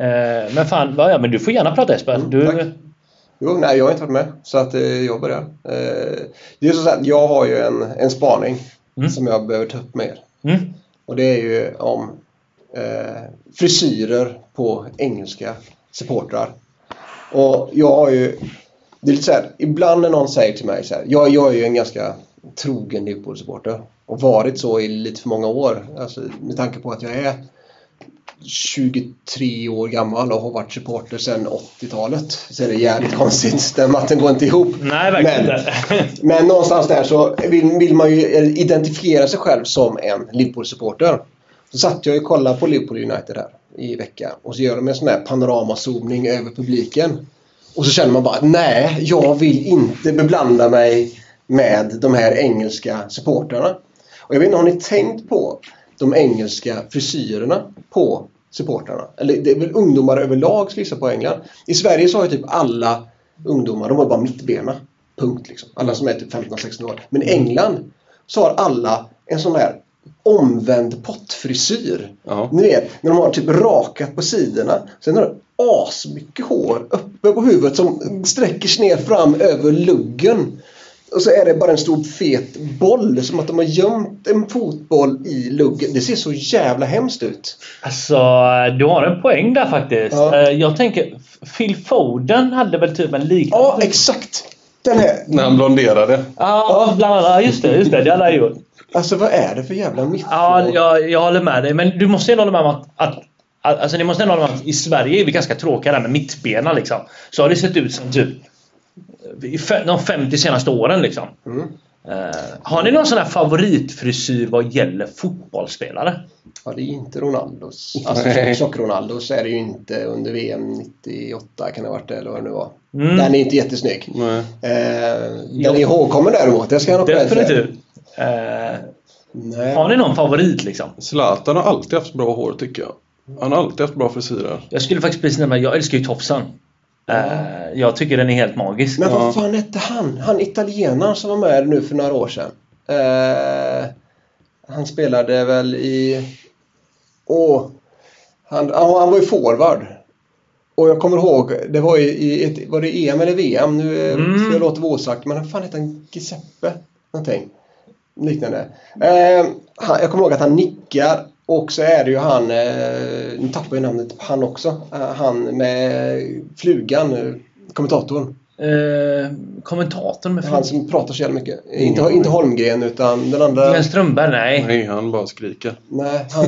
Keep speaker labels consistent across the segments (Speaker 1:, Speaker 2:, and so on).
Speaker 1: Eh, men fan, ja, men du får gärna prata Espen.
Speaker 2: Mm,
Speaker 1: du,
Speaker 2: tack. Jo, nej, jag har inte varit med, så att, eh, jag börjar. Eh, det är så att jag har ju en, en spaning
Speaker 1: Mm.
Speaker 2: som jag behöver ta upp med er.
Speaker 1: Mm,
Speaker 2: Och det är ju om eh, frisyrer på engelska supportrar. Och jag har ju... Det är lite så här, ibland när någon säger till mig så här, jag, jag är ju en ganska trogen Liverpool-supporter och varit så i lite för många år. Alltså, med tanke på att jag är 23 år gammal och har varit supporter sedan 80-talet. Så är det jävligt konstigt. Den matten går inte ihop.
Speaker 1: nej, verkligen
Speaker 2: Men-
Speaker 1: inte.
Speaker 2: men någonstans där så vill, vill man ju identifiera sig själv som en Liverpool-supporter. Så satt jag och kollade på Liverpool United här i veckan och så gör de en sån här panoramazoomning över publiken. Och så känner man bara nej, jag vill inte beblanda mig med de här engelska supportrarna. Och jag vet inte, har ni tänkt på de engelska frisyrerna på supportrarna? Eller det är väl ungdomar överlag skulle jag gissa på i England. I Sverige så har ju typ alla ungdomar, de har bara mittbena. Punkt liksom. Alla som är typ 15-16 år. Men i England så har alla en sån här omvänd pottfrisyr.
Speaker 3: Ja.
Speaker 2: Ni vet, när de har typ rakat på sidorna. Sen har de asmycket hår uppe på huvudet som sträcker sig ner fram över luggen. Och så är det bara en stor fet boll, som att de har gömt en fotboll i luggen. Det ser så jävla hemskt ut.
Speaker 1: Alltså, du har en poäng där faktiskt.
Speaker 2: Ja.
Speaker 1: Eh, Jag tänker, Phil Foden hade väl typ en liknande...
Speaker 2: Ja, exakt! Den här.
Speaker 3: När han blonderade.
Speaker 1: Ja, bland annat. Just det, just det. Det hade han gjort.
Speaker 2: Alltså vad är det för jävla mittfång?
Speaker 1: Ja, jag, jag håller med dig. Men du måste ändå hålla med om att, att att- Alltså ni måste ändå hålla med om att i Sverige är vi ganska tråkiga där med mittbena liksom. Så har det sett ut som typ i fe- de 50 senaste åren liksom.
Speaker 2: Mm.
Speaker 1: Eh, har ni någon sån här favoritfrisyr vad gäller fotbollsspelare?
Speaker 2: Ja, det är inte Ronaldos. Alltså
Speaker 3: Nej.
Speaker 2: Tjock-Ronaldos är det ju inte under VM 98 kan det ha varit eller vad det nu var.
Speaker 1: Mm.
Speaker 2: Den är inte jättesnygg.
Speaker 3: Nej.
Speaker 2: Eh, den är ihågkommen däremot, det ska jag nog ha cred för.
Speaker 1: Definitivt. Eh,
Speaker 2: Nej.
Speaker 1: har ni någon favorit liksom?
Speaker 3: Zlatan har alltid haft bra hår tycker jag. Han har alltid haft bra frisyrer.
Speaker 1: Jag skulle faktiskt precis nämna, jag älskar ju tofsen. Eh, jag tycker den är helt magisk.
Speaker 2: Men
Speaker 3: Ja.
Speaker 2: vad fan hette han? Han italienaren som var med nu för några år sedan. Eh, han spelade väl i... Åh! han, ja, han var ju forward. Och jag kommer ihåg, det var, i, i ett, var det EM eller VM? Nu
Speaker 1: Mm.
Speaker 2: mm. ska jag låta vara osagt, men vad fan hette han? Giuseppe? Någonting. Liknande. Eh, han, jag kommer ihåg att han nickar och så är det ju han, eh, nu tappar jag namnet på han också, eh, han med flugan, eh, kommentatorn.
Speaker 1: Eh, kommentatorn med
Speaker 2: Han
Speaker 1: Frans...
Speaker 2: som pratar så jävla mycket.
Speaker 3: Ingen
Speaker 2: Inte,
Speaker 3: aning.
Speaker 2: inte Holmgren utan den andra.
Speaker 1: Glenn Strömberg? Nej.
Speaker 3: Nej, han bara skriker.
Speaker 2: Nej, han,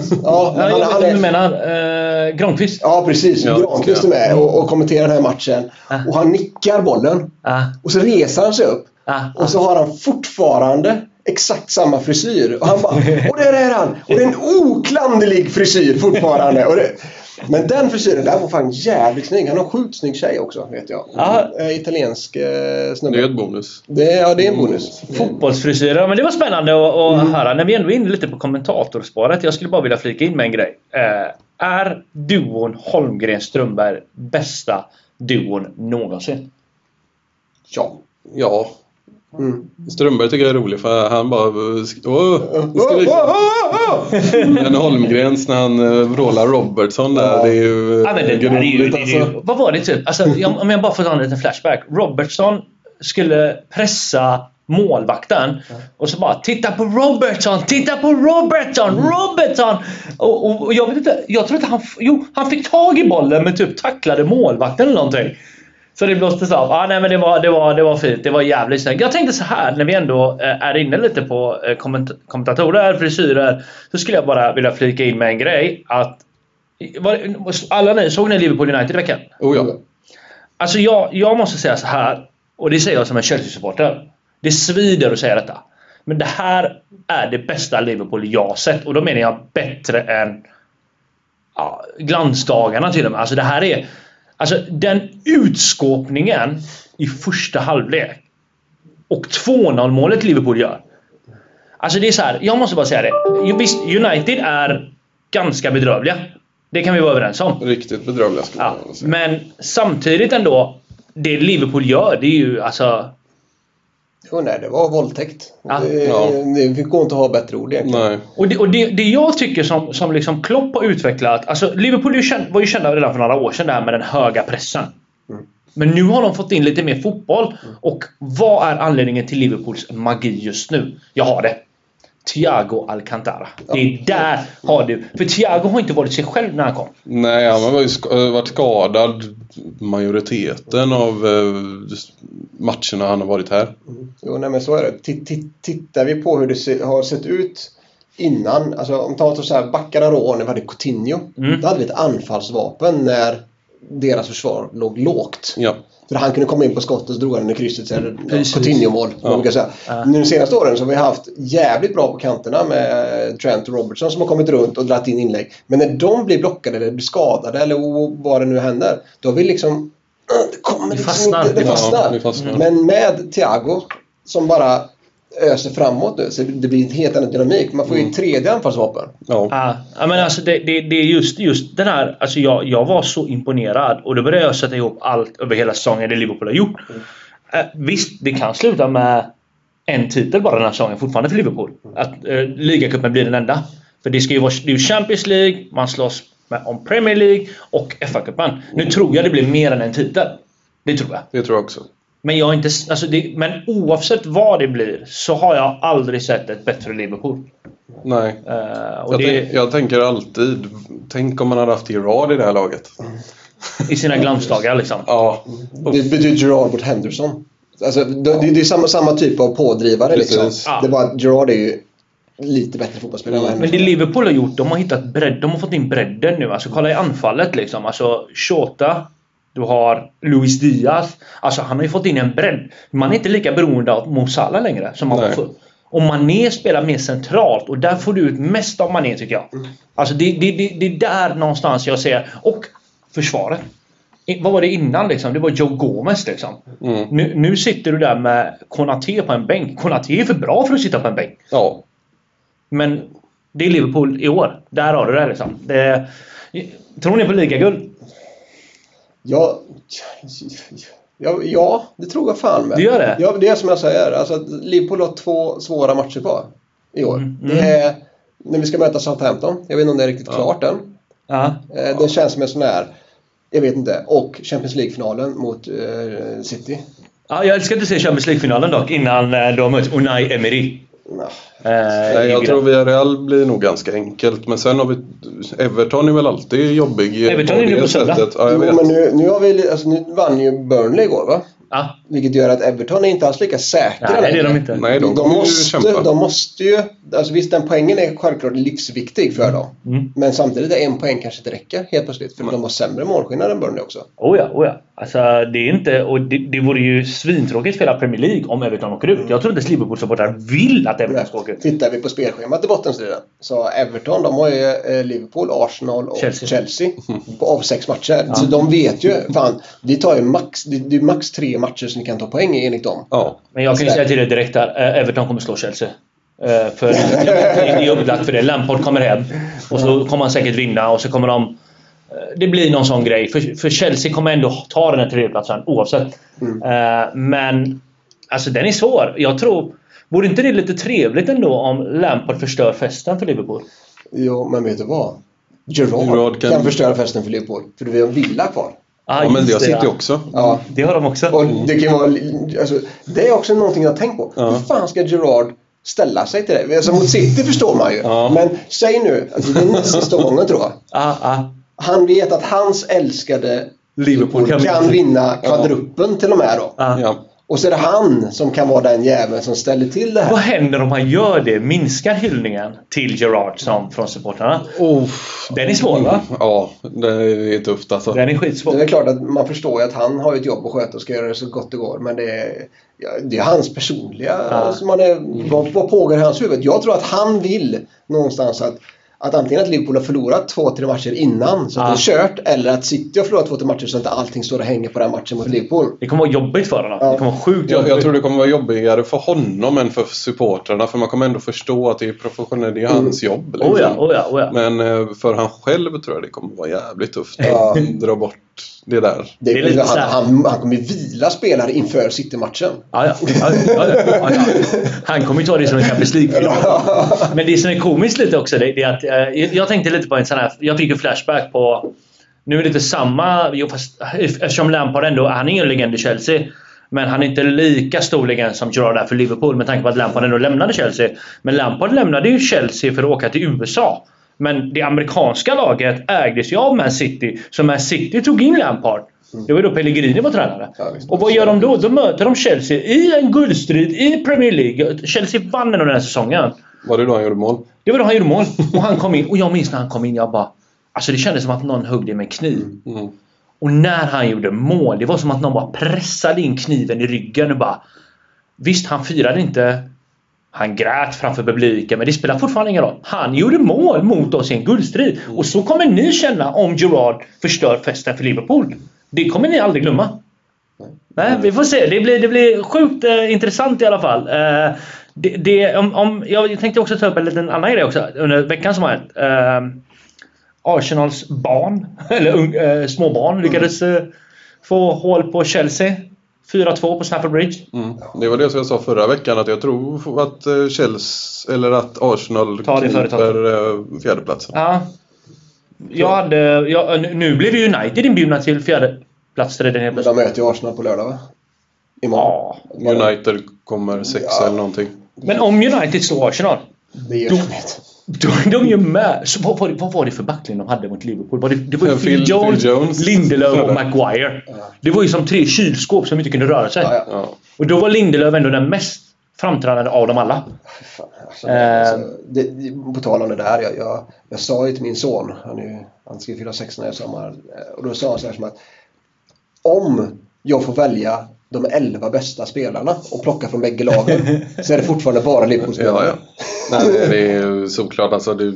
Speaker 1: Ja,
Speaker 2: ja, men han,
Speaker 1: jag
Speaker 2: han
Speaker 1: vet vad du
Speaker 2: är,
Speaker 1: menar. Eh, Granqvist?
Speaker 2: ja, precis.
Speaker 3: Ja,
Speaker 2: Granqvist är
Speaker 3: ja.
Speaker 2: med och, och kommenterar den här matchen.
Speaker 1: Ah.
Speaker 2: Och han nickar bollen.
Speaker 1: Ah,
Speaker 2: Och så reser han sig upp.
Speaker 1: ah, ah.
Speaker 2: Och så har han fortfarande exakt samma frisyr. Och han bara Och där är han! Och det är en oklanderlig frisyr fortfarande. Och det, men den frisyren där var fan jävligt snygg. Han har en sjukt snygg tjej också, vet jag.
Speaker 1: Ja.
Speaker 2: Eh, Italiensk eh,
Speaker 3: Det är Mm.
Speaker 2: snubbe.
Speaker 3: ett bonus.
Speaker 2: Det, ja, det är en bonus.
Speaker 1: Fotbollsfrisyrer, men det var spännande att, att
Speaker 2: Mm.
Speaker 1: höra. När vi ändå är inne lite på kommentatorspåret. Jag skulle bara vilja flika in med en grej. Eh, är duon Holmgren-Strömberg bästa duon någonsin?
Speaker 2: Ja.
Speaker 3: Ja.
Speaker 2: Mm.
Speaker 3: Strömberg tycker jag är rolig för han bara... Åh, nu ska vi...
Speaker 2: Oh,
Speaker 3: Men Holmgrens när han eh, vrålar Robertson där,
Speaker 2: Ja.
Speaker 3: det är ju...
Speaker 1: Ja, men det, där är ju,
Speaker 3: grumligt,
Speaker 1: det, är ju,
Speaker 3: eh, alltså.
Speaker 1: vad var det typ? Alltså, jag, om jag bara får ta en liten flashback. Robertson skulle pressa målvakten och så bara “Titta på Robertson! Titta på Robertson! Robertson!” och, och, och jag vet inte, jag tror inte han... f- Jo, han fick tag i bollen men typ tacklade målvakten eller någonting. Så det blåstes av. Ah, nej, men det, var, det, var, det var fint. Det var jävligt snyggt. Jag tänkte så här när vi ändå eh, är inne lite på eh, komment- kommentatorer, frisyrer. Så skulle jag bara vilja flika in med en grej. Att, var, alla ni, såg ni Liverpool United i veckan?
Speaker 3: Oh, ja.
Speaker 1: Alltså jag, jag måste säga så här och det säger jag som en Chelsea-supporter. Det svider att säga detta. Men det här är det bästa Liverpool jag har sett och då menar jag bättre än ja, glansdagarna till och med. Alltså det här är... Alltså den utskåpningen i första halvlek och 2-0 målet Liverpool gör. Alltså det är så här, jag måste bara säga det. Jo, Visst, United är ganska bedrövliga. Det kan vi vara överens om.
Speaker 3: Riktigt bedrövliga skulle
Speaker 1: Ja,
Speaker 3: jag vilja säga.
Speaker 1: alltså, men samtidigt ändå. Det Liverpool gör, det är ju alltså...
Speaker 2: Jo, nej, det var våldtäkt.
Speaker 1: Ja.
Speaker 2: Det,
Speaker 3: Ja. Mm.
Speaker 2: det fick gå inte att ha bättre ord egentligen.
Speaker 3: Nej.
Speaker 1: Och det, och det, det jag tycker som, som liksom Klopp har utvecklat. Alltså Liverpool är ju känd, var ju kända redan för några år sedan där med den höga pressen. Men nu har de fått in lite mer fotboll. Och vad är anledningen till Liverpools magi just nu? Jag har det. Thiago Alcantara. Det är där har du. För Thiago har inte varit sig själv när han kom.
Speaker 3: Nej, han har ju sk- eh, varit skadad majoriteten av eh, just matcherna han har varit här.
Speaker 2: Jo, nej, men så är det. Ti- ti- Tittar vi på hur det se- har sett ut innan. Alltså, om vi tar så här, backarna då, och när vi hade Coutinho. Då hade vi ett anfallsvapen när deras försvar låg lågt.
Speaker 3: Ja.
Speaker 2: För han kunde komma in på skottet och drog den i krysset. Så här,
Speaker 1: Precis.
Speaker 2: Coutinho-mål.
Speaker 3: Ja.
Speaker 2: Ja. Säga.
Speaker 1: Ja.
Speaker 2: Nu de senaste åren så har vi haft jävligt bra på kanterna med Trent och Robertson som har kommit runt och dragit in inlägg. Men när de blir blockade eller blir skadade eller o- vad det nu händer. Då har vi liksom... Det kommer
Speaker 1: Det
Speaker 2: liksom
Speaker 1: fastnar.
Speaker 2: Inte, det
Speaker 1: Ja,
Speaker 2: fastnar.
Speaker 3: det fastnar.
Speaker 2: Men med Thiago som bara öser framåt nu så det blir en helt annan dynamik. Man får
Speaker 1: Mm.
Speaker 2: ju ett tredje anfallsvapen.
Speaker 3: ja.
Speaker 1: Ja, ja, men alltså det, det, det är just, just den här... Alltså jag, jag var så imponerad och då började jag sätta ihop allt över hela säsongen det Liverpool har gjort. Eh, visst, det kan sluta med en titel bara den här säsongen fortfarande för Liverpool. Att eh, ligacupen blir den enda. För det ska ju vara det är ju Champions League, man slåss med, om Premier League och FA-cupen. Nu tror jag det blir mer än en titel. Det tror jag.
Speaker 3: Det tror jag också.
Speaker 1: Men, jag har inte, alltså det, men oavsett vad det blir så har jag aldrig sett ett bättre Liverpool.
Speaker 3: Nej.
Speaker 1: Eh, och
Speaker 3: Jag,
Speaker 1: det,
Speaker 3: tänk, jag tänker alltid, tänk om man hade haft Gerard i det här laget.
Speaker 1: I sina glansdagar liksom.
Speaker 3: Ja,
Speaker 2: Det betyder Gerard mot Henderson. Alltså, det, det det är samma, samma typ av pådrivare. Liksom.
Speaker 3: Precis.
Speaker 2: Det är bara att Gerard är ju lite bättre fotbollsspelare än
Speaker 1: Mm. Men
Speaker 2: Henderson.
Speaker 1: det Liverpool har gjort, de har hittat bredd, de har fått in bredden nu. Alltså kolla i anfallet liksom. Alltså Shota. Du har Luis Diaz. Alltså han har ju fått in en bredd. Man är inte lika beroende av Mo Salah längre som man var
Speaker 3: Nej.
Speaker 1: förr. Och Mané spelar mer centralt och där får du ut mest av Mané tycker jag.
Speaker 3: Mm.
Speaker 1: Alltså det, det, det, det är där någonstans jag ser. Och försvaret. I- Vad var det innan liksom? Det var Joe Gomez liksom.
Speaker 3: Mm.
Speaker 1: Nu, nu sitter du där med Konaté på en bänk. Konaté är för bra för att sitta på en bänk.
Speaker 3: ja.
Speaker 1: Men det är Liverpool i år. Där har du det liksom. Det, tror ni på ligaguld?
Speaker 2: Ja, ja, ja, det tror jag fan med.
Speaker 1: Du gör det?
Speaker 2: Ja, det är som jag säger. Alltså, att Liverpool har två svåra matcher kvar i år.
Speaker 1: Mm.
Speaker 2: Det är när vi ska möta Southampton. Jag vet inte om det är riktigt klart än.
Speaker 1: Ja.
Speaker 2: Eh, Det känns som en sån här, jag vet inte, och Champions League-finalen mot eh, City.
Speaker 1: ja. Jag älskar att du ser Champions League-finalen dock innan eh, de möts Unai Emery.
Speaker 2: Nå.
Speaker 1: Eh,
Speaker 3: Nej,
Speaker 1: i-
Speaker 3: jag tror Villarreal blir nog ganska enkelt. Men sen har vi... Everton är väl alltid jobbig
Speaker 1: Everton är
Speaker 3: det
Speaker 1: nu på söndag.
Speaker 3: sättet. Ja, jag
Speaker 2: Jo,
Speaker 3: vet.
Speaker 2: men nu, nu, har vi, li- alltså, nu vann ju Burnley igår va?
Speaker 1: Ja.
Speaker 2: Vilket gör att Everton är inte alls lika säkra
Speaker 1: Nej, det är de
Speaker 2: längre.
Speaker 1: inte.
Speaker 3: Nej, de,
Speaker 2: de,
Speaker 3: kommer ju
Speaker 2: måste,
Speaker 3: kämpa.
Speaker 2: de måste ju... Alltså visst, den poängen är självklart livsviktig för dem.
Speaker 1: Mm.
Speaker 2: Men samtidigt, är en poäng kanske inte räcker helt plötsligt. För de har sämre målskillnad än Burnley också.
Speaker 1: Oh ja, oh ja. Alltså, det är inte... Och det, det vore ju svintråkigt för hela Premier League om Everton åker ut. Jag tror inte ens Liverpool-supportrar vill att Everton ska åka ut.
Speaker 2: Tittar vi på spelschemat i bottenstriden så Everton, de har ju eh, Liverpool, Arsenal och
Speaker 1: Chelsea.
Speaker 2: Chelsea, på av sex matcher. Så de vet ju, fan, vi tar ju max, det, det är max tre matcher som vi kan ta poäng i enligt dem.
Speaker 3: Ja.
Speaker 1: Men jag kan ju säga till dig direkt där. eh, Everton kommer slå Chelsea. Eh, För det är upplagt för det. Lampard kommer hem. Och så kommer han säkert vinna och så kommer de... eh, Det blir någon sån grej. För, för Chelsea kommer ändå ta den här tredjeplatsen oavsett.
Speaker 3: Mm.
Speaker 1: Eh, Men... Alltså den är svår. Jag tror... Vore inte det lite trevligt ändå om Lampard förstör festen för Liverpool?
Speaker 2: Jo, men vet du vad? Gerard,
Speaker 3: Gerrard
Speaker 2: kan...
Speaker 3: kan-
Speaker 2: förstöra festen för Liverpool. För vi har Villa kvar.
Speaker 1: Ah,
Speaker 3: ja, men
Speaker 1: just
Speaker 3: jag sitter ju
Speaker 1: ja.
Speaker 3: också.
Speaker 2: Ja.
Speaker 1: Det har de också.
Speaker 2: Och det kan vara... Alltså, det är också någonting jag har tänkt på.
Speaker 3: Ja.
Speaker 2: Hur fan ska Gerard ställa sig till det? Alltså, mot City förstår man ju.
Speaker 3: Ja.
Speaker 2: Men säg nu, alltså, det är näst sista gången tror jag.
Speaker 1: Ah, ah.
Speaker 2: Han vet att hans älskade
Speaker 3: Liverpool
Speaker 2: kan,
Speaker 3: kan
Speaker 2: vinna kvadruppen till och med då.
Speaker 1: Ah.
Speaker 3: Ja.
Speaker 2: Och så är det han som kan vara den jäveln som ställer till det
Speaker 1: Vad
Speaker 2: här.
Speaker 1: händer om han gör det? Minskar hyllningen till Gerard som från supportrarna? Den är svår va?
Speaker 3: Ja, det är tufft alltså.
Speaker 1: Den är
Speaker 2: Det är
Speaker 1: skitsvår.
Speaker 2: väl klart att man förstår ju att han har ett jobb att sköta och ska göra det så gott det går. Men det är, ja, det är hans personliga... Alltså man är, vad, vad pågår i hans huvud? Jag tror att han vill någonstans att, att antingen att Liverpool har förlorat två, tre matcher innan så att
Speaker 1: Ja.
Speaker 2: det är kört. Eller att City har förlorat två, tre matcher så att inte allting står och hänger på den matchen mot Liverpool.
Speaker 1: Det kommer vara jobbigt för honom.
Speaker 2: Ja.
Speaker 1: Det kommer vara sjukt
Speaker 3: Jag,
Speaker 1: jobbigt.
Speaker 3: jag tror det kommer vara jobbigare för honom än för supportrarna. För man kommer ändå förstå att det är professionellt, det är hans
Speaker 1: Mm.
Speaker 3: jobb. Liksom.
Speaker 1: Oh ja, oh ja, oh ja.
Speaker 3: Men eh, för han själv tror jag det kommer vara jävligt tufft
Speaker 2: Ja.
Speaker 3: att dra bort bort det där.
Speaker 2: Det är
Speaker 1: Det är lite
Speaker 2: han,
Speaker 1: så här-
Speaker 2: han, han kommer vila spelare inför City-matchen.
Speaker 1: Ja, ja, ja, ja, ja, ja. Han kommer ju ta det som en Champions League-final. Men det som är komiskt lite också, det, det är att eh, jag tänkte lite på en sån här... Jag fick en flashback på... Nu är det inte samma... Jo, fast, eh, eftersom Lampard ändå... Han är ju en legend i Chelsea. Men han är inte lika stor legend som Gerrard är för Liverpool med tanke på att Lampard ändå lämnade Chelsea. Men Lampard lämnade ju Chelsea för att åka till USA. Men det amerikanska laget ägdes ju av Man City. Så Man City tog in Lampard. Det var ju då Pellegrini var tränare.
Speaker 2: Mm. Ja, visst.
Speaker 1: och vad gör de då? Då möter de Chelsea i en guldstrid i Premier League. Chelsea vann ändå den här säsongen.
Speaker 3: Var det då han gjorde mål?
Speaker 1: Det var då han gjorde mål. Och han kom in. Och jag minns när han kom in. Jag bara... Alltså det kändes som att någon högg det med en kniv.
Speaker 3: Mm.
Speaker 1: Och när han gjorde mål, det var som att någon bara pressade in kniven i ryggen och bara... Visst, han firade inte. Han grät framför publiken, men det spelar fortfarande ingen roll. Han gjorde mål mot oss i en guldstrid. Och så kommer ni känna om Gerard förstör festen för Liverpool. Det kommer ni aldrig glömma. Nej, vi får se. Det blir, det blir sjukt eh, intressant i alla fall. Eh, det, det, om, om, jag tänkte också ta upp en liten annan grej också under veckan som har hänt. Eh, Arsenals barn, eller ung, eh, småbarn, lyckades eh, få hål på Chelsea. 4-2 på Stamford Bridge.
Speaker 3: Mm. Det var det som jag sa förra veckan att jag tror att eh, Chelsea eller att Arsenal
Speaker 1: Ta det före
Speaker 3: eh, fjärdeplatsen.
Speaker 1: Ja. Jag hade, jag, nu- nu blev ju United inbjudna till fjärde plats redan helt
Speaker 2: Men de
Speaker 1: plötsligt.
Speaker 2: möter ju Arsenal på lördag va? Imorgon.
Speaker 1: Ja.
Speaker 3: United kommer sexa
Speaker 2: Ja.
Speaker 3: eller någonting.
Speaker 1: Men om United slår Arsenal,
Speaker 2: Det är ju roligt.
Speaker 1: då är de ju med. Så vad, var det, vad var det för backlinje de hade mot Liverpool? Var det, det var ju
Speaker 3: Ja,
Speaker 1: Phil,
Speaker 3: Phil-
Speaker 1: Jones,
Speaker 3: Phil Jones.
Speaker 1: Lindelöf och
Speaker 3: Ja.
Speaker 1: Maguire. Det var ju som tre kylskåp som inte kunde röra sig.
Speaker 2: Ja, ja.
Speaker 3: Ja.
Speaker 1: Och då var Lindelöf ändå den mest framträdande av dem alla.
Speaker 2: Fy Fan, alltså,
Speaker 1: Eh.
Speaker 2: alltså, det, det- på tal om det där. Jag, jag, jag sa ju till min son, han, är, ju- han ska fylla 16 här i sommar. eh, Och då sa han så här som att om jag får välja de 11 bästa spelarna och plocka från bägge lagen så är det fortfarande bara
Speaker 3: Ja,
Speaker 2: Liverpool-spelarna.
Speaker 3: ja. Nej, det- det är såklart alltså. Det,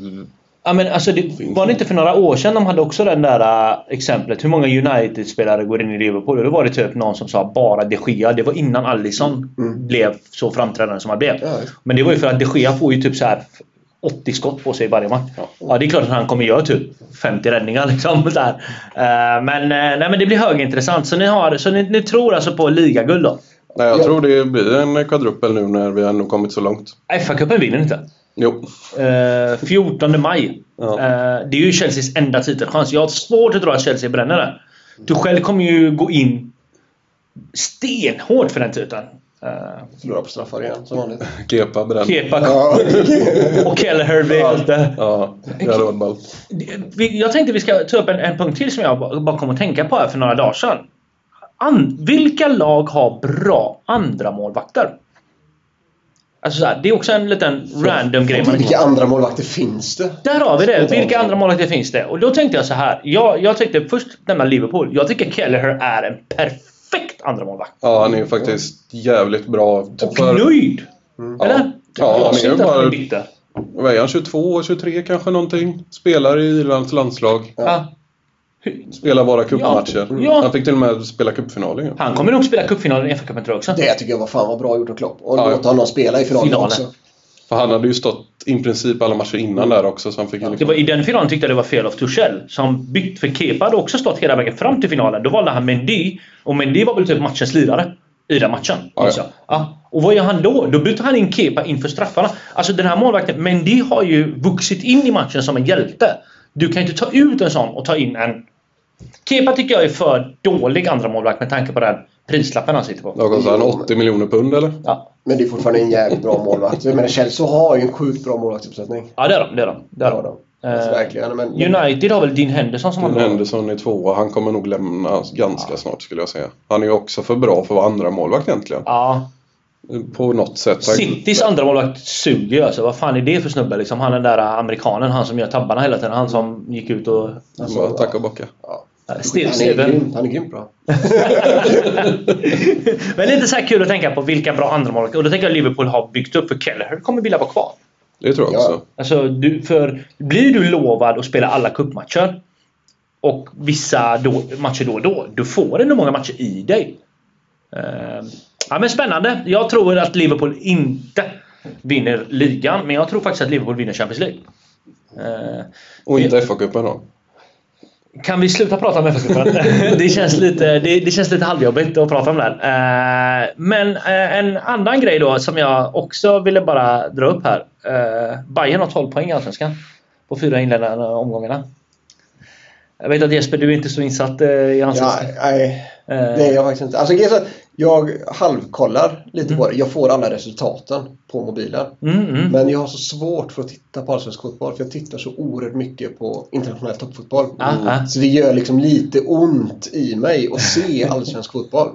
Speaker 1: Ja, men alltså det, var det inte för några år sedan de hade också det där äh, exemplet? Hur många United-spelare går in i Liverpool? Och då var det typ någon som sa bara de Gea. Det var innan Alisson blev så framträdande som han blev.
Speaker 2: Ja, visst.
Speaker 1: Men det var ju för att de Gea får ju typ så här 80 skott på sig varje match. Ja. det är klart att han kommer göra typ 50 räddningar. Liksom, där. Eh, men, eh, nej, men det blir högintressant. Så ni, har, så ni, ni tror alltså på ligaguld då?
Speaker 3: nej, jag
Speaker 2: Ja.
Speaker 3: tror det blir en kvadrupel nu när vi ändå kommit så långt.
Speaker 1: FA-cupen Äh, vinner ni inte.
Speaker 3: Jo.
Speaker 1: Eh, 14 maj.
Speaker 3: Ja.
Speaker 1: Eh, det är ju Chelseas enda titelchans. Jag har svårt att tro att Chelsea bränner den. Du själv kommer ju gå in stenhårt för den titeln. Eh,
Speaker 2: Förlorar på straffar igen som vanligt.
Speaker 3: Kepa bränn.
Speaker 1: Kepa
Speaker 2: Ja,
Speaker 1: och Kelleher blir hjälte.
Speaker 3: Ja, det hade varit ballt.
Speaker 1: Vi- Jag tänkte vi ska ta upp en, en punkt till som jag ba- bara kom att tänka på här för några dagar sedan. An, vilka lag har bra andra målvakter? Alltså så här, det är också en liten random grej. man-
Speaker 2: vilka andra målvakter finns det?
Speaker 1: Där har vi det!
Speaker 2: Spontant.
Speaker 1: Vilka andra målvakter finns det? Och då tänkte jag så här. Jag, jag tänkte först nämna Liverpool. Jag tycker Kelleher är en perfekt andra målvakt.
Speaker 3: Ja, han är ju faktiskt jävligt bra.
Speaker 1: Och nöjd! Eller?
Speaker 3: Ja, han är
Speaker 1: jag ser
Speaker 3: ju
Speaker 1: inte att han är
Speaker 3: bara-
Speaker 1: bitter.
Speaker 3: Vad är han? 22, 23 kanske någonting? Spelar i Irlands landslag.
Speaker 1: Ja.
Speaker 3: Spelar bara cupmatcher.
Speaker 1: Ja, ja.
Speaker 3: Han fick till och med spela cupfinalen ju.
Speaker 1: Han kommer nog spela cupfinalen i FA-cupen tror jag också.
Speaker 2: Det tycker jag var fan vad bra gjort av Klopp. Och
Speaker 3: Ja.
Speaker 2: låta honom spela i finalen,
Speaker 1: Finalen.
Speaker 2: också.
Speaker 3: För han hade ju stått i princip alla matcher innan där också. Så han fick ju
Speaker 1: Det
Speaker 3: liksom...
Speaker 1: var, I den finalen tyckte jag det var fel av Tuchel som bytt för Kepa hade också stått hela vägen fram till finalen. Då valde han Mendy och Mendy var väl typ matchens lirare i den matchen.
Speaker 3: ja.
Speaker 1: Alltså. Ja. Och vad gör han då? Då byter han in Kepa inför straffarna. Alltså den här målvakten, Mendy har ju vuxit in i matchen som en hjälte. Du kan ju inte ta ut en sån och ta in en... Kepa tycker jag är för dålig andra målvakt med tanke på den prislappen han sitter på.
Speaker 3: Vad kostade han? 80 miljoner pund eller?
Speaker 1: Ja,
Speaker 2: Men det är fortfarande en jävligt bra målvakt. Men Chelsea har ju en sjukt bra målvaktsuppsättning.
Speaker 1: ja det är de. Det är de. Det
Speaker 2: Det
Speaker 1: är
Speaker 2: har
Speaker 1: de.
Speaker 2: de. Alltså,
Speaker 1: Eh,
Speaker 2: verkligen. Men,
Speaker 1: United har väl Dean Henderson som
Speaker 3: Men
Speaker 1: han har.
Speaker 3: Henderson är tvåa. Han kommer nog lämna ganska snart skulle jag säga. Han är ju också för bra för att vara andra målvakt egentligen.
Speaker 1: Ja,
Speaker 3: På något sätt.
Speaker 1: Citys andra målvakt suger ju alltså. Vad fan är det för snubbe liksom? Han den där amerikanen, han som gör tabbarna hela tiden. Han som gick ut och...
Speaker 2: Alltså,
Speaker 3: Bara tacka och bocka.
Speaker 2: ja.
Speaker 1: Steve
Speaker 2: han, är
Speaker 1: Steven.
Speaker 2: grym, han är grymt bra.
Speaker 1: Men lite så här kul att tänka på vilka bra andra målvakter. Och då tänker jag Liverpool har byggt upp för Kelleher kommer vilja vara kvar.
Speaker 3: Det tror jag
Speaker 2: Ja.
Speaker 3: också.
Speaker 1: Alltså, du, för blir du lovad att spela alla cupmatcher och vissa då, matcher då och då, du får ändå många matcher i dig. Ehm, ja, men spännande. Jag tror att Liverpool inte vinner ligan, men jag tror faktiskt att Liverpool vinner Champions League. Ehm,
Speaker 3: Och inte FA-cupen då.
Speaker 1: Kan vi sluta prata om FA-cupen? det, känns lite, det, det känns lite halvjobbigt att prata om den. Eh, men eh, en annan grej då som jag också ville bara dra upp här. Eh, Bayern har 12 poäng i Allsvenskan på fyra inledande omgångarna. Jag vet att Jesper, du är inte så insatt eh, i
Speaker 2: Ja,
Speaker 1: Allsvenskan.
Speaker 2: nej,
Speaker 1: Eh,
Speaker 2: nej, jag har faktiskt inte. Alltså, grejen är så att jag halvkollar lite på det. Jag får alla resultaten på mobilen.
Speaker 1: mm, mm.
Speaker 2: Men jag har så svårt för att titta på allsvensk fotboll för jag tittar så oerhört mycket på internationell toppfotboll.
Speaker 1: Ah, ah.
Speaker 2: Så det gör liksom lite ont i mig att se allsvensk fotboll.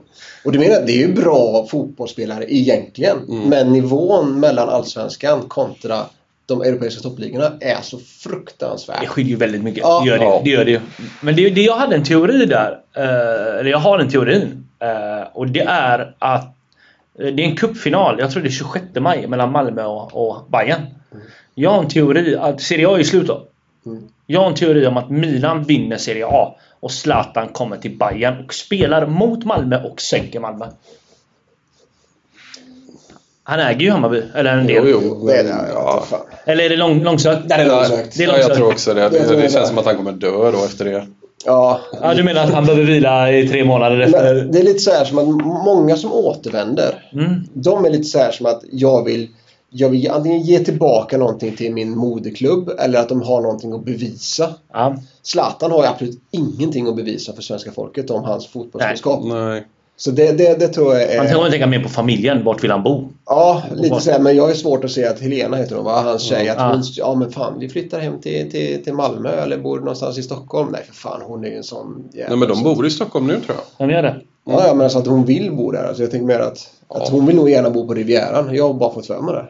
Speaker 2: Och du menar, jag, det är ju bra fotbollsspelare egentligen.
Speaker 1: Mm.
Speaker 2: Men nivån mellan allsvenskan kontra de europeiska toppligorna är så
Speaker 1: Det
Speaker 2: fruktansvärd.
Speaker 1: skiljer ju väldigt mycket.
Speaker 2: Ja.
Speaker 1: det, gör det,
Speaker 3: Ja.
Speaker 1: det gör det ju. Men det, det jag hade en teori där. eh, Eller jag har en teorin. eh, Och det är att eh, det är en cupfinal. Jag tror det är 26 maj mellan Malmö och, och Bayern. Jag har en teori att Serie A är slut då.
Speaker 2: Mm.
Speaker 1: Jag har en teori om att Milan vinner Serie A och Zlatan kommer till Bayern och spelar mot Malmö och sänker Malmö. Han äger ju Hammarby, eller en del.
Speaker 3: Jo, jo.
Speaker 2: Det är det,
Speaker 3: men,
Speaker 2: ja. fan.
Speaker 1: Eller är det lång, långsökt?
Speaker 2: Det är långsökt.
Speaker 1: Det är
Speaker 3: Ja,
Speaker 1: långsökt.
Speaker 3: jag tror också det.
Speaker 2: Jag tror
Speaker 3: Det,
Speaker 2: det.
Speaker 3: det känns som att han kommer dö då efter det.
Speaker 2: Ja.
Speaker 1: Ja, du menar att han behöver vila i tre månader efter?
Speaker 2: Men det är lite så här som att många som återvänder
Speaker 1: Mm.
Speaker 2: De är lite så här som att jag vill, jag vill antingen ge tillbaka någonting till min moderklubb eller att de har någonting att bevisa.
Speaker 1: Ja.
Speaker 2: Zlatan har ju absolut ingenting att bevisa för svenska folket om hans fotbollskunskap.
Speaker 3: Nej.
Speaker 2: Så det, det, det tror jag
Speaker 1: Man
Speaker 2: är...
Speaker 1: kan tänka mer på familjen. Vart vill han bo?
Speaker 2: Ja, lite så här, men jag är svårt att se att Helena heter hon va? Hans tjej, att hon... Ja men fan, vi flyttar hem till, till, till Malmö eller bor någonstans i Stockholm. Nej för fan, hon är ju en sån jävla...
Speaker 3: Nej, men de
Speaker 2: så-
Speaker 3: bor i Stockholm nu tror jag.
Speaker 1: Vem gör det?
Speaker 2: Ja, ja, men alltså att hon vill bo där. Alltså, jag tänker mer att, att hon vill nog gärna bo på Rivieran. Jag har bara fått för mig det.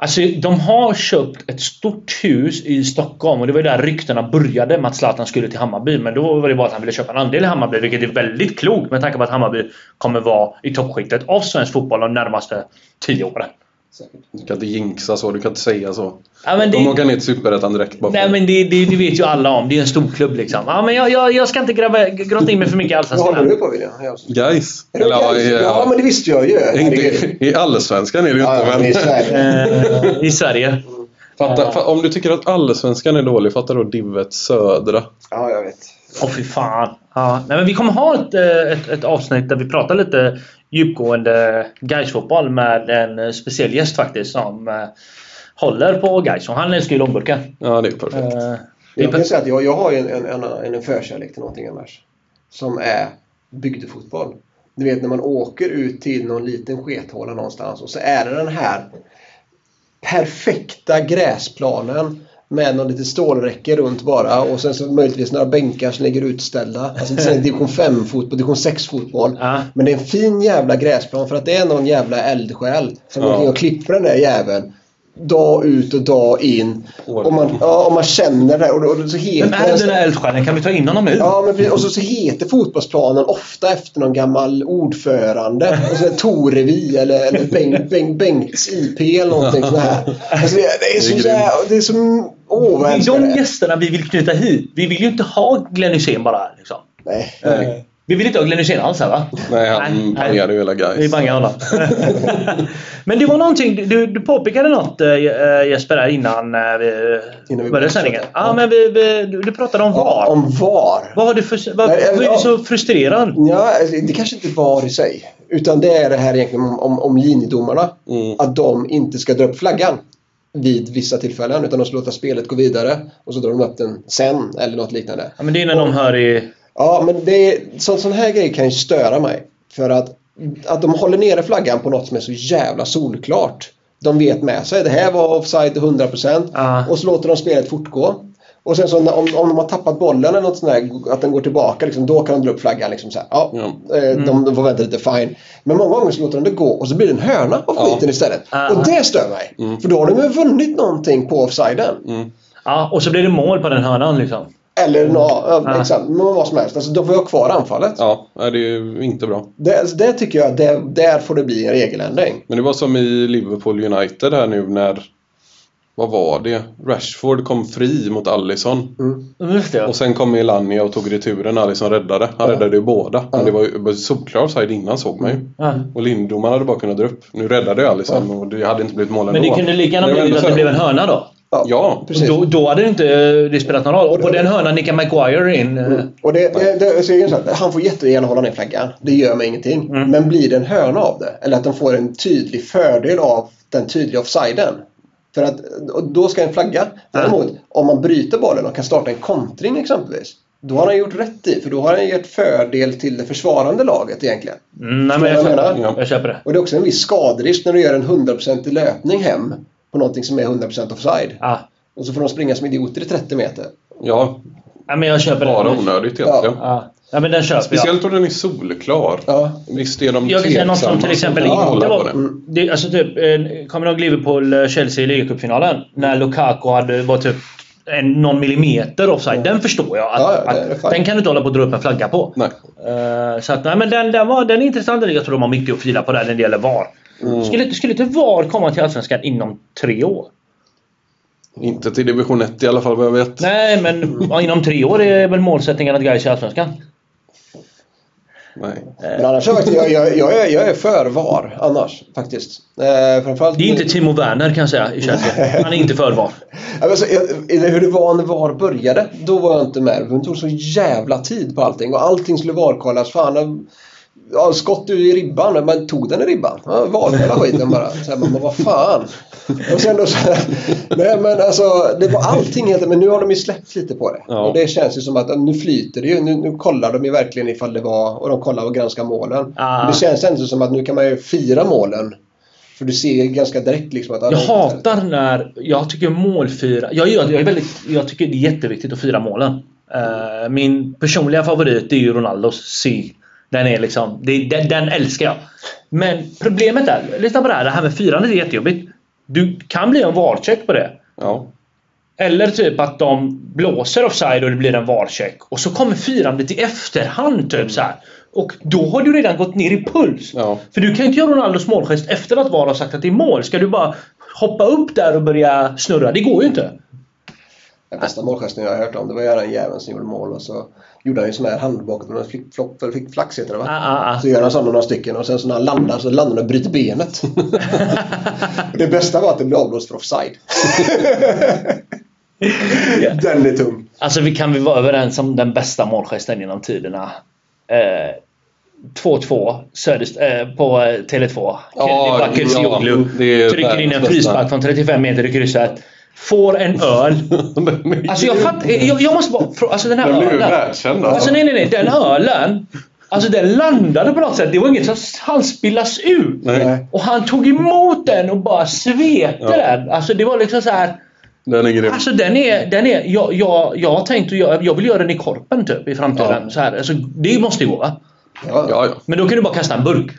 Speaker 1: Alltså, de har köpt ett stort hus i Stockholm och det var ju där ryktena började med att Zlatan skulle till Hammarby. Men då var det bara att han ville köpa en andel i Hammarby, vilket är väldigt klokt med tanke på att Hammarby kommer vara i toppskiktet av svensk fotboll de närmaste tio åren.
Speaker 3: Du kan inte jinxa så, du kan inte säga så.
Speaker 1: Ja, men
Speaker 3: De
Speaker 1: det,
Speaker 3: åker ner till Superettan direkt bara för
Speaker 1: nej,
Speaker 3: det.
Speaker 1: men det, det, det vet ju alla om. Det är en stor klubb liksom. Ja, men jag, jag, jag ska inte gräva, grotta in mig för mycket i
Speaker 2: Vad håller
Speaker 1: Allsvenskan.
Speaker 2: du på William? Jag-
Speaker 3: Guys.
Speaker 2: Är det
Speaker 3: Eller, ja,
Speaker 2: okej?
Speaker 3: i-
Speaker 2: ja, men det visste jag ju. Herregud.
Speaker 3: inte, I allsvenskan är det ju
Speaker 2: Ja, ja,
Speaker 3: inte,
Speaker 2: men i
Speaker 3: men...
Speaker 2: Sverige.
Speaker 1: Eh, I Sverige.
Speaker 3: Fatta, fa, om du tycker att allsvenskan är dålig, fatta då divet södra.
Speaker 2: Ja, jag vet.
Speaker 1: Åh fy fan. Ja. Nej, men vi kommer ha ett, eh, ett, ett avsnitt där vi pratar lite djupgående Gais-fotboll med en eh, speciell gäst faktiskt som eh, håller på Gais. Och han älskar ju långburkar.
Speaker 3: Ja, det är perfekt.
Speaker 1: Eh, det är
Speaker 2: Jag
Speaker 1: pe-
Speaker 2: kan säga att jag, jag har ju en, en, en, en förkärlek till någonting annars. Som är bygdefotboll. Du vet när man åker ut till någon liten skethåla någonstans och så är det den här perfekta gräsplanen med någon lite stålräcke runt bara och sen så möjligtvis några bänkar som ligger utställda. Alltså det är division 5 fotboll, division 6 fotboll.
Speaker 1: Ja.
Speaker 2: Men det är en fin jävla gräsplan för att det är någon jävla eldsjäl som
Speaker 3: Ja.
Speaker 2: går in och klipper den där jäveln. Dag ut och dag in.
Speaker 3: Åh,
Speaker 2: Och man, ja, och man känner det. Och, då- och då så heter
Speaker 1: Vem är den
Speaker 2: den-
Speaker 1: där eldsjälen? Kan vi ta in honom nu?
Speaker 2: Ja, men precis. och så, så heter fotbollsplanen ofta efter någon gammal ordförande. Och så är det Torevi eller, eller Bengt, Bengt, Bengts IP eller någonting sånt här. Alltså, det, det är så
Speaker 3: grymt.
Speaker 2: jävla... Det är så... Åh,
Speaker 1: Det
Speaker 2: vad jag
Speaker 1: är
Speaker 2: älskar
Speaker 1: de
Speaker 2: det.
Speaker 1: gästerna vi vill knyta hit. Vi vill ju inte ha Glenn Hysén bara. Liksom.
Speaker 2: Nej.
Speaker 1: Eh, Vi vill inte ha Glenn Hysén alls här va?
Speaker 3: Nej,
Speaker 1: Nej,
Speaker 3: han
Speaker 1: nej.
Speaker 3: pangade ju hela
Speaker 1: Vi
Speaker 3: guys.
Speaker 1: bangar honom. Men det var någonting, du, du påpekade något eh, Jesper här innan eh, vi
Speaker 2: Innan vi
Speaker 1: började
Speaker 2: började
Speaker 1: sändningen.
Speaker 2: prata.
Speaker 1: Ja, men vi, vi, du du pratade om VAR.
Speaker 2: Om VAR.
Speaker 1: Vad har du för... Vad,
Speaker 2: Nej, jag-
Speaker 1: vad är du så frustrerad?
Speaker 2: Ja, alltså, det kanske inte var i sig. Utan det är det här egentligen om, om, om linjedomarna.
Speaker 3: Mm.
Speaker 2: Att de inte ska dra upp flaggan vid vissa tillfällen. Utan de ska låta spelet gå vidare. Och så drar de upp den sen eller något liknande.
Speaker 1: Ja, men det är när de hör i...
Speaker 2: Ja, men det är, så, sån här grej kan ju störa mig. För att, att de håller nere flaggan på något som är så jävla solklart. De vet med sig, det här var offside till 100%
Speaker 1: Ja.
Speaker 2: och så låter de spelet fortgå. Och sen så när- om, om de har tappat bollen eller något sånt där, att den går tillbaka, liksom, då kan de dra upp flaggan. Liksom, så här. Ja,
Speaker 3: Ja.
Speaker 2: eh,
Speaker 1: Mm.
Speaker 2: De, de får vänta lite, fine. Men många gånger så låter de det gå och så blir det en hörna av
Speaker 3: Ja. Mm.
Speaker 2: skiten istället.
Speaker 1: Ja.
Speaker 2: Och det stör mig. För då har de ju vunnit någonting på offsiden.
Speaker 1: Ja, och så blir det mål på den hörnan liksom.
Speaker 2: Eller nå,
Speaker 1: Ja.
Speaker 2: ja. exakt, men vad som helst. Alltså, då får jag ha kvar anfallet.
Speaker 3: Ja, nej, det är ju inte bra.
Speaker 2: Det, det tycker jag, det, där får det bli en regeländring.
Speaker 3: Men det var som i Liverpool United här nu när... Vad var det? Rashford kom fri mot Allison.
Speaker 1: Just det.
Speaker 3: Och sen kom Elania och tog returen. Allison räddade. Han räddade ju båda. Men det var ju det var ju solklar offside innan såg man ju.
Speaker 1: Ja.
Speaker 3: Och Lindom hade bara kunnat dra upp. Nu räddade jag Allison liksom, och det hade inte blivit mål ändå.
Speaker 1: Men det kunde lika gärna
Speaker 3: Men
Speaker 1: blivit
Speaker 3: det var ändå
Speaker 1: att det
Speaker 3: så-
Speaker 1: blev en hörna då.
Speaker 2: Ja,
Speaker 3: Ja.
Speaker 1: Och
Speaker 2: precis.
Speaker 1: Då, då hade det inte eh, det spelat någon roll. Och på den hörnan nickar Maguire in. eh,
Speaker 2: Och det, det, det, så är det så att han får jättegärna hålla ner flaggan. Det gör mig ingenting. Men blir det en hörna av det? Eller att de får en tydlig fördel av den tydliga offsiden? För att och då ska en flagga. Däremot om man bryter bollen och kan starta en kontring exempelvis. Då har han gjort rätt i. För då har han gett fördel till det försvarande laget egentligen.
Speaker 1: Mm, nej, men jag
Speaker 2: Förstår du vad jag
Speaker 1: köper,
Speaker 3: menar?
Speaker 1: det. jag köper det.
Speaker 2: Och det är också en viss skaderisk när du gör en 100% löpning hem på någonting som är 100% offside.
Speaker 1: Ja.
Speaker 2: Och så får de springa som idioter i 30 meter.
Speaker 3: Ja,
Speaker 1: Ja, men jag köper
Speaker 3: bara
Speaker 1: det.
Speaker 3: onödigt egentligen.
Speaker 1: Ja. ja, men den köper jag.
Speaker 3: Speciellt om den är solklar.
Speaker 2: Ja.
Speaker 3: Visst är de
Speaker 1: Jag kan säga något som till exempel
Speaker 3: inte
Speaker 1: inte
Speaker 3: var... På
Speaker 1: var...
Speaker 3: det.
Speaker 1: Det, alltså typ, eh, kommer ni ihåg Liverpool-Chelsea i ligacupfinalen? När Lukaku hade, var typ en, någon millimeter offside. Den förstår jag. Att,
Speaker 2: Ja, ja, det är
Speaker 1: att,
Speaker 2: fine.
Speaker 1: den kan du inte hålla på att dra upp en flagga på.
Speaker 3: Nej.
Speaker 1: Eh, så att, nej, men den, den, var, den är intressant. Jag tror de har mycket att fila på där när det gäller VAR.
Speaker 2: Mm.
Speaker 1: Skulle, skulle inte VAR komma till Allsvenskan inom tre år?
Speaker 3: Inte till division 1 i alla fall vad jag vet.
Speaker 1: Nej, men ja, inom tre år är väl målsättningen att Gais är i Allsvenskan?
Speaker 3: Nej.
Speaker 2: Men annars är jag, faktiskt- jag, jag, jag, är- jag är för VAR annars faktiskt. Eh, framförallt
Speaker 1: Det är inte Timo Werner kan jag säga i Chelsea. Han är inte för VAR.
Speaker 2: Ja, men så, jag- eller hur det var när VAR började, då var jag inte med. Det tog så jävla tid på allting och allting skulle VAR-kollas. Fan, ja, skott ur i ribban, men tog den i ribban? Ja, VAR hela skiten bara. Så här, man bara, vad fan? Och sen då så här, nej men alltså, det var allting helt men nu har de ju släppt lite på det.
Speaker 3: Ja.
Speaker 2: Och det känns ju som att ja, nu flyter det ju. Nu, nu kollar de ju verkligen ifall det var, och de kollar och granskar målen.
Speaker 1: Ah.
Speaker 2: Det känns ändå som att nu kan man ju fira målen. För du ser ju ganska direkt liksom att... ja,
Speaker 1: Jag
Speaker 2: de-
Speaker 1: hatar när, jag tycker målfira, jag, jag, jag, är väldigt, jag tycker det är jätteviktigt att fira målen. Eh, min personliga favorit är ju Ronaldos C. Den är liksom, det, den, den älskar jag. Men problemet är, lyssna på det här, det här med firandet är jättejobbigt. Du kan bli en varcheck på det.
Speaker 3: Ja.
Speaker 1: Eller typ att de blåser offside och det blir en varcheck och så kommer firandet i efterhand typ så här. Och då har du redan gått ner i puls.
Speaker 3: Ja.
Speaker 1: För du kan ju inte göra Ronaldos målgest efter att VAR har sagt att det är mål. Ska du bara hoppa upp där och börja snurra? Det går ju inte.
Speaker 2: Den bästa målgesten jag har hört om det var ju den jäveln som gjorde mål och så gjorde han ju sån här hand bakåt med en flickflopp, eller flickflax heter det va?
Speaker 1: Ah, ah, ah.
Speaker 2: Så gör han sådana några stycken och sen så när han landar så landar han och bryter benet. det bästa var att det blev avblåst för offside. Den är tung.
Speaker 1: Alltså vi kan vi vara överens om den bästa målgesten genom tiderna? Eh, 2-2 Söderst- eh, på eh, Tele2.
Speaker 3: Ja,
Speaker 1: Kenny Bakircioglu
Speaker 3: ja, det är
Speaker 1: trycker in en
Speaker 3: världens
Speaker 1: frispark
Speaker 3: bästa.
Speaker 1: från 35 meter i krysset. Får en öl.
Speaker 3: Den är
Speaker 1: Alltså jag
Speaker 3: ju-
Speaker 1: fattar, jag, jag måste bara, frå- alltså den här
Speaker 3: Den blev ju
Speaker 1: ölen.
Speaker 3: världskänd
Speaker 1: Alltså
Speaker 3: alltså.
Speaker 1: nej nej nej, den ölen. Alltså den landade på något sätt. Det var inget som han spillas ut.
Speaker 3: Nej,
Speaker 1: Och han tog emot den och bara svepte
Speaker 3: Ja.
Speaker 1: den. Alltså det var liksom så här.
Speaker 3: den är grym.
Speaker 1: Alltså den är, den är jag, jag, jag har tänkt att göra, jag vill göra den i korpen typ i framtiden.
Speaker 3: Ja.
Speaker 1: Så här. Alltså, det måste ju gå va?
Speaker 2: Ja.
Speaker 3: Ja, ja.
Speaker 1: Men då kan du bara kasta en burk.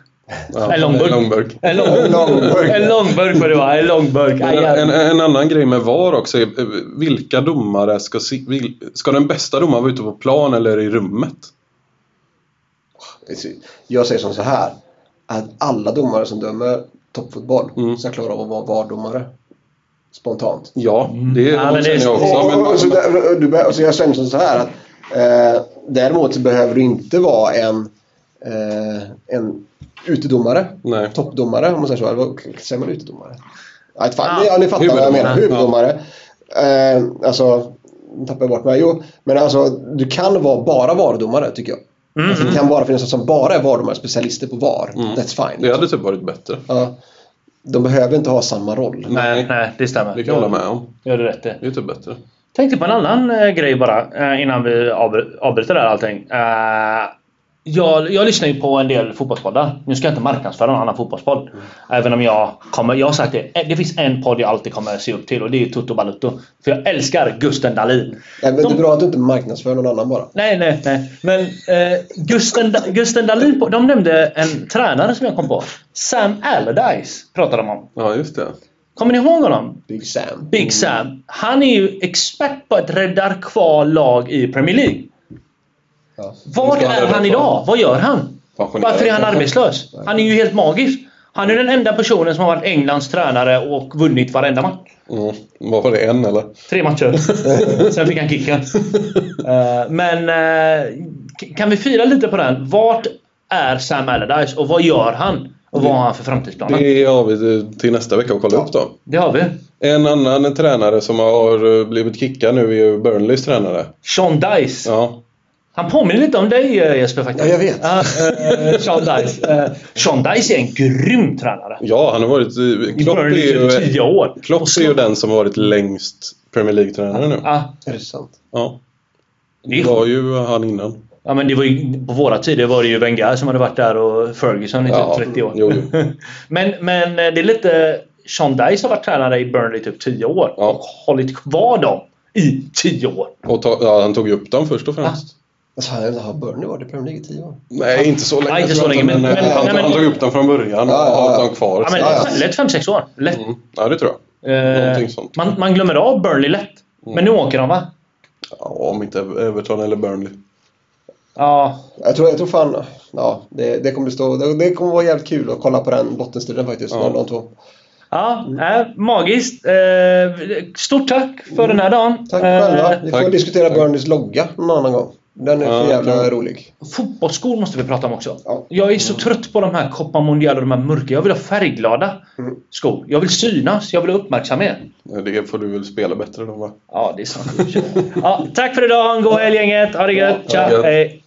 Speaker 3: ja.
Speaker 1: En långburk.
Speaker 3: långburk.
Speaker 1: En lång, en
Speaker 2: lång burk.
Speaker 1: En lång burk var det va? En lång burk. Aj, aj.
Speaker 3: En, en annan grej med VAR också är eh, vilka domare ska... si- vil- Ska den bästa domaren vara ute på plan eller i rummet?
Speaker 2: Jag säger som så här. Att alla domare som dömer toppfotboll ska klara av att vara VAR-domare. Spontant.
Speaker 3: Ja, det
Speaker 1: Mm. Ja, men det är-
Speaker 3: känner jag också.
Speaker 2: Och,
Speaker 3: Men,
Speaker 2: och, och, så där, och, alltså, du, beh- och så jag känner som så här att eh, däremot så behöver du inte vara en, eh, en utedomare.
Speaker 3: Nej.
Speaker 2: Toppdomare om man säger så. Eller vad- säger man utedomare? Ja, ett fan,
Speaker 1: Ja.
Speaker 2: ni- ja, ni fattar vad jag menar.
Speaker 3: Huvuddomare.
Speaker 2: Huvuddomare. Eh, alltså, nu tappar jag bort mig. Jo, men alltså du kan vara bara varudomare tycker jag.
Speaker 1: Mm.
Speaker 2: Alltså, det kan bara finnas någon som bara är varudomare, specialister på VAR. That's fine. liksom.
Speaker 3: det hade typ varit bättre.
Speaker 2: Ja. De behöver inte ha samma roll.
Speaker 1: Nej, nej, det stämmer.
Speaker 3: Det kan jag hålla med om.
Speaker 1: Jag har rätt i.
Speaker 3: Det är typ bättre.
Speaker 1: Tänkte på en annan eh, grej bara eh, innan vi avbry- avbryter där allting. Eh, jag, jag lyssnar ju på en del fotbollspoddar. Nu ska jag inte marknadsföra någon annan fotbollspodd. Även om jag kommer... Jag har sagt det. eh, Det finns en podd jag alltid kommer se upp till och det är Toto Balutto. För jag älskar Gusten Dahlin.
Speaker 2: Nej, men
Speaker 1: De-
Speaker 2: Det är bra att du inte marknadsför någon annan bara.
Speaker 1: Nej, nej, nej. Men eh, Gusten, Da- Gusten Dahlin, på- de nämnde en tränare som jag kom på. Sam Allardyce pratade de om.
Speaker 3: Ja, just det.
Speaker 1: Kommer ni ihåg honom?
Speaker 2: Big Sam.
Speaker 1: Big Sam. Han är ju expert på att rädda kvar lag i Premier League.
Speaker 2: Ja.
Speaker 1: Var
Speaker 3: Hur ska han
Speaker 1: är
Speaker 3: rädda
Speaker 1: han
Speaker 3: kvar?
Speaker 1: idag? Vad gör han?
Speaker 3: Pensionerad.
Speaker 1: Varför är han arbetslös? Han är ju helt magisk. Han är den enda personen som har varit Englands tränare och vunnit varenda match.
Speaker 3: Mm. Vad var det, en eller?
Speaker 1: Tre matcher. Sen fick han kicken. Eh, Men eh, kan vi fira lite på den? Vart är Sam Allardyce och vad gör han? Och vad har han för framtidsplaner? Det,
Speaker 3: Det har vi till nästa vecka och kolla upp då.
Speaker 1: har vi.
Speaker 3: En annan tränare som har eh, blivit kickad nu är ju Burnleys tränare.
Speaker 1: Sean Dice.
Speaker 3: Ja.
Speaker 1: Han påminner lite om dig eh, Jesper faktiskt.
Speaker 2: Ja, jag vet.
Speaker 1: Ja, eh, Sean Dice. Eh, Sean Dice är en grym tränare.
Speaker 3: ja, han har varit... eh,
Speaker 1: I
Speaker 3: Klopp är
Speaker 1: Burnley i
Speaker 3: ju, eh,
Speaker 1: tio år.
Speaker 3: Klopp är ju den som har varit längst Premier League-tränare nu.
Speaker 1: Ja,
Speaker 2: Är det sant?
Speaker 3: Ja.
Speaker 1: det är
Speaker 3: Det var ju han innan.
Speaker 1: Ja men det var ju, på våra tider var det ju Wenger som hade varit där och Ferguson i typ
Speaker 3: Ja,
Speaker 1: 30 år.
Speaker 3: jo, jo.
Speaker 1: men, men eh, det är lite... Sean Dice har varit tränare i Burnley i typ 10 år
Speaker 3: Ja.
Speaker 1: och hållit kvar dem i 10 år.
Speaker 3: Och ta, ja, han tog ju upp dem först och främst.
Speaker 2: Alltså, han har Burnley varit i Premier League i tio år.
Speaker 3: Nej, inte så länge.
Speaker 1: Nej, inte
Speaker 3: tror jag
Speaker 1: så länge, men-
Speaker 3: eh,
Speaker 1: men-
Speaker 3: han,
Speaker 1: nej, men-
Speaker 3: han tog upp dem från början och
Speaker 2: Ja, ja,
Speaker 3: har
Speaker 2: ja.
Speaker 3: haft dem kvar.
Speaker 1: Ja, men,
Speaker 2: Ja, ja.
Speaker 1: Lätt 5-6 år. Lätt.
Speaker 3: Mm. ja, det tror jag.
Speaker 1: Eh,
Speaker 3: Någonting sånt. Mm.
Speaker 1: man, man glömmer av Burnley lätt. Men nu åker de va?
Speaker 3: Ja, om inte Everton eller Burnley.
Speaker 1: Ja,
Speaker 2: Jag tror, jag tror fan... Ja, det, det, kommer stå, det, det kommer vara jävligt kul att kolla på den bottenstriden faktiskt.
Speaker 3: Ja.
Speaker 2: Ja. De två.
Speaker 1: ja
Speaker 3: Mm.
Speaker 1: äh, magiskt. Eh, stort tack för den här dagen.
Speaker 2: Tack
Speaker 1: Eh,
Speaker 2: själva. Vi får
Speaker 3: tack.
Speaker 2: diskutera
Speaker 3: Tack.
Speaker 2: Burneys logga någon annan gång. Den är
Speaker 3: Ja,
Speaker 2: för jävla
Speaker 3: kan-
Speaker 2: rolig.
Speaker 1: Fotbollsskor måste vi prata om också.
Speaker 2: Ja.
Speaker 1: Jag är så trött på de här Copa Mundial och de här mörka. Jag vill ha färgglada skor. Jag vill synas. Jag vill ha uppmärksamhet.
Speaker 3: Det får du väl spela bättre då va?
Speaker 1: Ja, det är sant. ja, tack för idag. Ha en god helg gänget. Ha det gött. Ciao.
Speaker 3: gött.
Speaker 1: Hej.